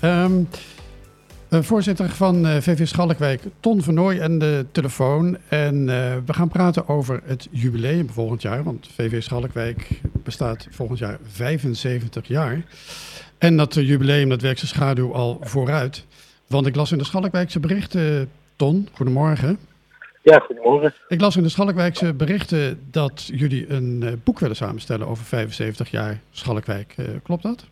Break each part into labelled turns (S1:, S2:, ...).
S1: Ehm, eh, voorzitter van eh, VV Schalkwijk, Ton van Nooy en de telefoon. En eh, we gaan praten over het jubileum volgend jaar. Want VV Schalkwijk bestaat volgend jaar 75 jaar. En dat eh, jubileum, dat werkt zijn schaduw al vooruit. Want ik las in de Schalkwijkse berichten, Ton, goedemorgen.
S2: Ja, goedemorgen.
S1: Ik las in de Schalkwijkse berichten dat jullie een eh, boek willen samenstellen over 75 jaar Schalkwijk. Eh, klopt dat?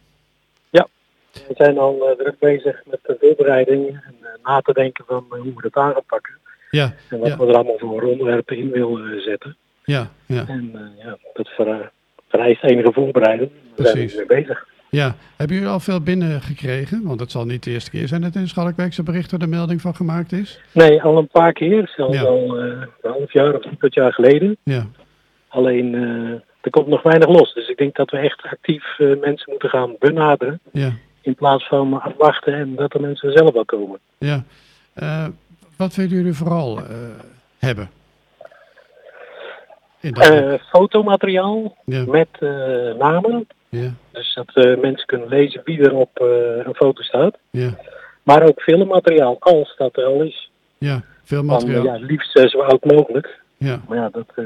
S2: We zijn al eh, druk bezig met de voorbereiding en eh, na te denken van eh, hoe we dat aan gaan pakken.
S1: Ja,
S2: En wat
S1: Ja.
S2: we er allemaal voor onderwerpen in willen eh, zetten.
S1: ja, ja.
S2: En eh, ja, dat ver- vereist enige voorbereiding. We zijn
S1: Precies.
S2: er mee bezig.
S1: Ja, hebben jullie al veel binnengekregen? Want het zal niet de eerste keer zijn dat in Schalkwijkse berichten de melding van gemaakt is.
S2: Nee, al een paar keer. Zelfs
S1: Ja.
S2: al eh, een half jaar of drie kwart jaar geleden.
S1: Ja,
S2: Alleen eh, er komt nog weinig los. Dus ik denk dat we echt actief eh, mensen moeten gaan benaderen.
S1: ja,
S2: In plaats van afwachten en dat de mensen zelf wel komen.
S1: ja. Eh, wat willen jullie vooral eh, hebben? In dat boek?
S2: Eh, fotomateriaal
S1: ja,
S2: met eh, namen.
S1: ja,
S2: Dus dat eh, mensen kunnen lezen wie er op eh, een foto staat.
S1: ja,
S2: Maar ook filmmateriaal, als dat er al is.
S1: ja. Veel
S2: Dan eh, ja,
S1: materiaal.
S2: het liefst eh, zo oud mogelijk.
S1: Ja,
S2: Maar ja, dat eh,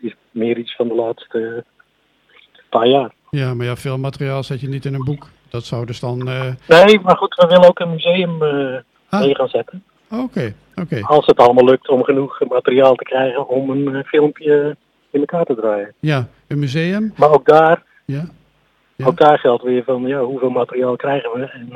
S2: is meer iets van de laatste eh, paar jaar.
S1: ja, maar ja, veel materiaal zet je niet in een boek. Dat zou dus dan... eh,
S2: Nee, maar goed, we willen ook een museum eh
S1: Ah.
S2: neer gaan zetten.
S1: Oké, oké.
S2: Als het allemaal lukt om genoeg eh, materiaal te krijgen om een eh, filmpje in elkaar te draaien.
S1: Ja, een museum.
S2: Maar ook daar,
S1: Ja, Ja.
S2: ook daar geldt weer van ja, hoeveel materiaal krijgen we en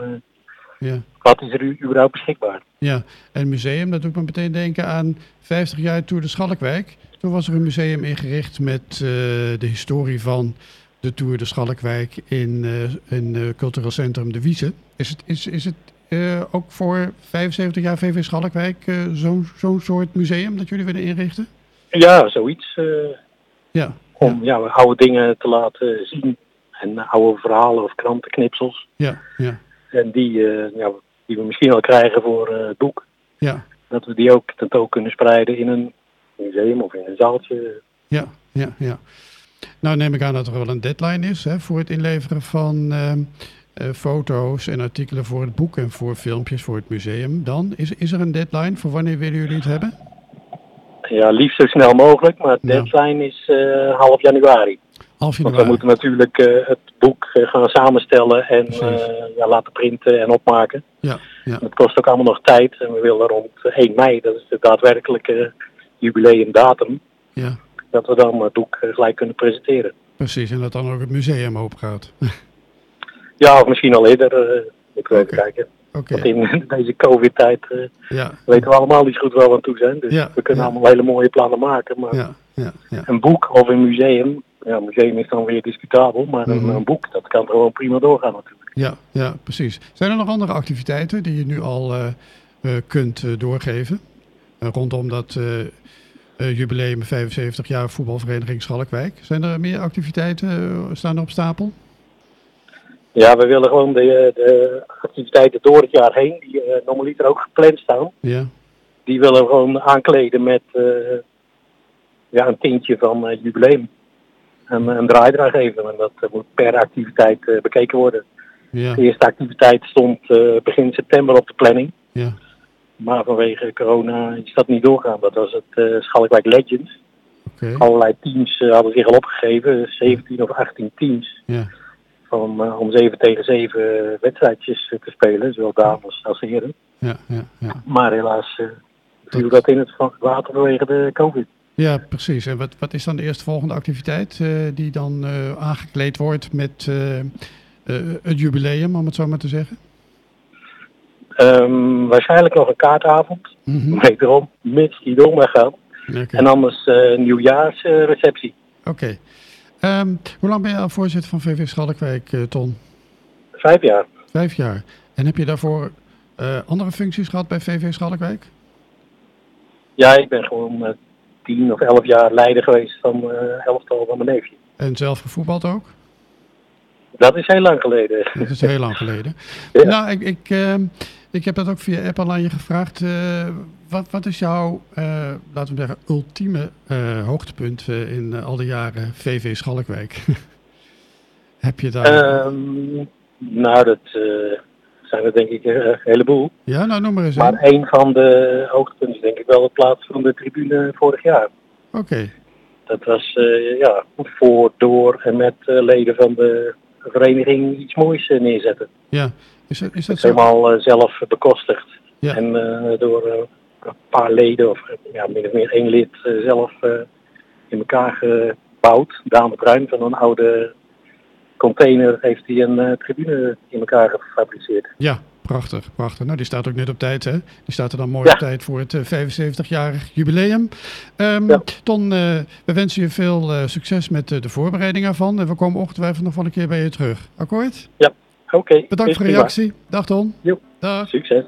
S2: eh,
S1: ja.
S2: wat is er u- überhaupt beschikbaar.
S1: Ja, en museum, dat doet me meteen denken aan 50 jaar Tour de Schalkwijk. Toen was er een museum ingericht met eh, de historie van de Tour de Schalkwijk in, eh in eh, cultureel centrum De Wiese. Is het, is, is het eh, ook voor 75 jaar VV Schalkwijk eh, zo'n zo'n soort museum dat jullie willen inrichten?
S2: Ja, zoiets. eh,
S1: Ja,
S2: om ja. oude dingen te laten zien. En eh, oude verhalen of krantenknipsels.
S1: ja, ja,
S2: En die, eh, ja, die we misschien wel krijgen voor eh, het boek.
S1: ja,
S2: Dat we die ook tentoon kunnen spreiden in een museum of in een zaaltje.
S1: ja, ja, ja. Nou neem ik aan dat er wel een deadline is hè, voor het inleveren van ehm, eh, foto's en artikelen voor het boek en voor filmpjes voor het museum. Dan is, is er een deadline voor wanneer willen jullie het hebben?
S2: Ja, liefst zo snel mogelijk. Maar het
S1: Ja.
S2: deadline is eh, half januari.
S1: Half
S2: Want we
S1: januari.
S2: moeten natuurlijk eh, het boek eh, gaan samenstellen en
S1: Precies.
S2: eh, ja, laten printen en opmaken.
S1: Ja, ja,
S2: Dat kost ook allemaal nog tijd. En we willen rond 1 mei, dat is de daadwerkelijke jubileumdatum,
S1: ja,
S2: dat we dan het boek eh, gelijk kunnen presenteren.
S1: precies. En dat dan ook het museum open gaat.
S2: Ja, of misschien al eerder. eh ik wil even
S1: Oké.
S2: kijken.
S1: Oké,
S2: Want in deze covid-tijd eh,
S1: ja,
S2: weten we allemaal niet goed waar we aan toe zijn. Dus
S1: Ja,
S2: we kunnen
S1: ja.
S2: allemaal hele mooie plannen maken. Maar
S1: ja, ja, ja.
S2: een boek of een museum, ja, een museum is dan weer discutabel. Maar
S1: Mhm.
S2: een, een boek, dat kan gewoon prima doorgaan natuurlijk.
S1: Ja, ja, precies. Zijn er nog andere activiteiten die je nu al eh, eh, kunt eh, doorgeven? Eh, rondom dat eh, eh, jubileum 75 jaar voetbalvereniging Schalkwijk. Zijn er meer activiteiten eh, staan er op stapel?
S2: Ja, we willen gewoon de, eh, de activiteiten door het jaar heen, die eh normaliter ook gepland staan,
S1: Ja,
S2: die willen we gewoon aankleden met eh, ja, een tintje van eh, jubileum. En een draai eraan geven. En dat eh, moet per activiteit eh, bekeken worden.
S1: ja,
S2: De eerste activiteit stond eh, begin september op de planning.
S1: ja,
S2: Maar vanwege corona is dat niet doorgaan. Dat was het eh, Schalkwijk Legends.
S1: oké.
S2: Allerlei teams eh, hadden zich al opgegeven. 17 of 18 teams.
S1: Ja,
S2: Om, eh, om 7 tegen 7 wedstrijdjes eh, te spelen. Zowel dames als heren.
S1: ja, ja, ja.
S2: Maar helaas eh, viel dat in het va- water vanwege de COVID.
S1: Ja, precies. En wat, wat is dan de eerstvolgende activiteit eh, die dan eh, aangekleed wordt met eh, eh, het jubileum, om het zo maar te zeggen?
S2: Ehm, waarschijnlijk nog een kaartavond.
S1: Mhm.
S2: Wederom, mits die door mag gaan.
S1: Oké.
S2: En anders eh, een nieuwjaarsreceptie.
S1: Oké. Ehm, hoe lang ben je al voorzitter van VV Schalkwijk, eh, Ton?
S2: Vijf jaar.
S1: Vijf jaar. En heb je daarvoor eh, andere functies gehad bij VV Schalkwijk?
S2: Ja, ik ben gewoon eh, tien of elf jaar leider geweest van eh elftal van mijn neefje.
S1: En zelf gevoetbald ook?
S2: Dat is heel lang geleden.
S1: Dat is heel lang geleden.
S2: Ja.
S1: Nou, ik, ik, ehm, ik heb dat ook via app al aan je gevraagd. Eh, wat, wat is jouw, eh, laten we zeggen, ultieme eh, hoogtepunt eh, in eh, al die jaren VV Schalkwijk? heb je daar...
S2: Ehm, nou, dat eh, zijn er denk ik een heleboel.
S1: Ja, nou noem maar eens
S2: Maar
S1: één.
S2: een van de hoogtepunten is denk ik wel de plaats van de tribune vorig jaar.
S1: Oké,
S2: Dat was eh, ja, voor, door en met eh, leden van de vereniging iets moois eh, neerzetten.
S1: ja. Is, dat- is dat zo?
S2: Helemaal eh, zelf bekostigd.
S1: Ja.
S2: En eh, door eh, een paar leden of eh, ja, min of meer één lid eh, zelf eh, in elkaar gebouwd. Daan de Bruin van een oude container heeft hij een eh, tribune in elkaar gefabriceerd.
S1: Ja, prachtig, prachtig. Nou, die staat ook net op tijd, hè? Die staat er dan mooi
S2: Ja.
S1: op tijd voor het eh, 75-jarig jubileum. Ehm,
S2: Ja.
S1: Ton, eh, we wensen je veel eh, succes met eh, de voorbereiding ervan. En we komen ongetwijfeld nog wel een keer bij je terug. Akkoord?
S2: Oké,
S1: Bedankt
S2: is
S1: voor je
S2: prima.
S1: reactie. Dag Ton.
S2: Jo.
S1: Dag.
S2: Succes.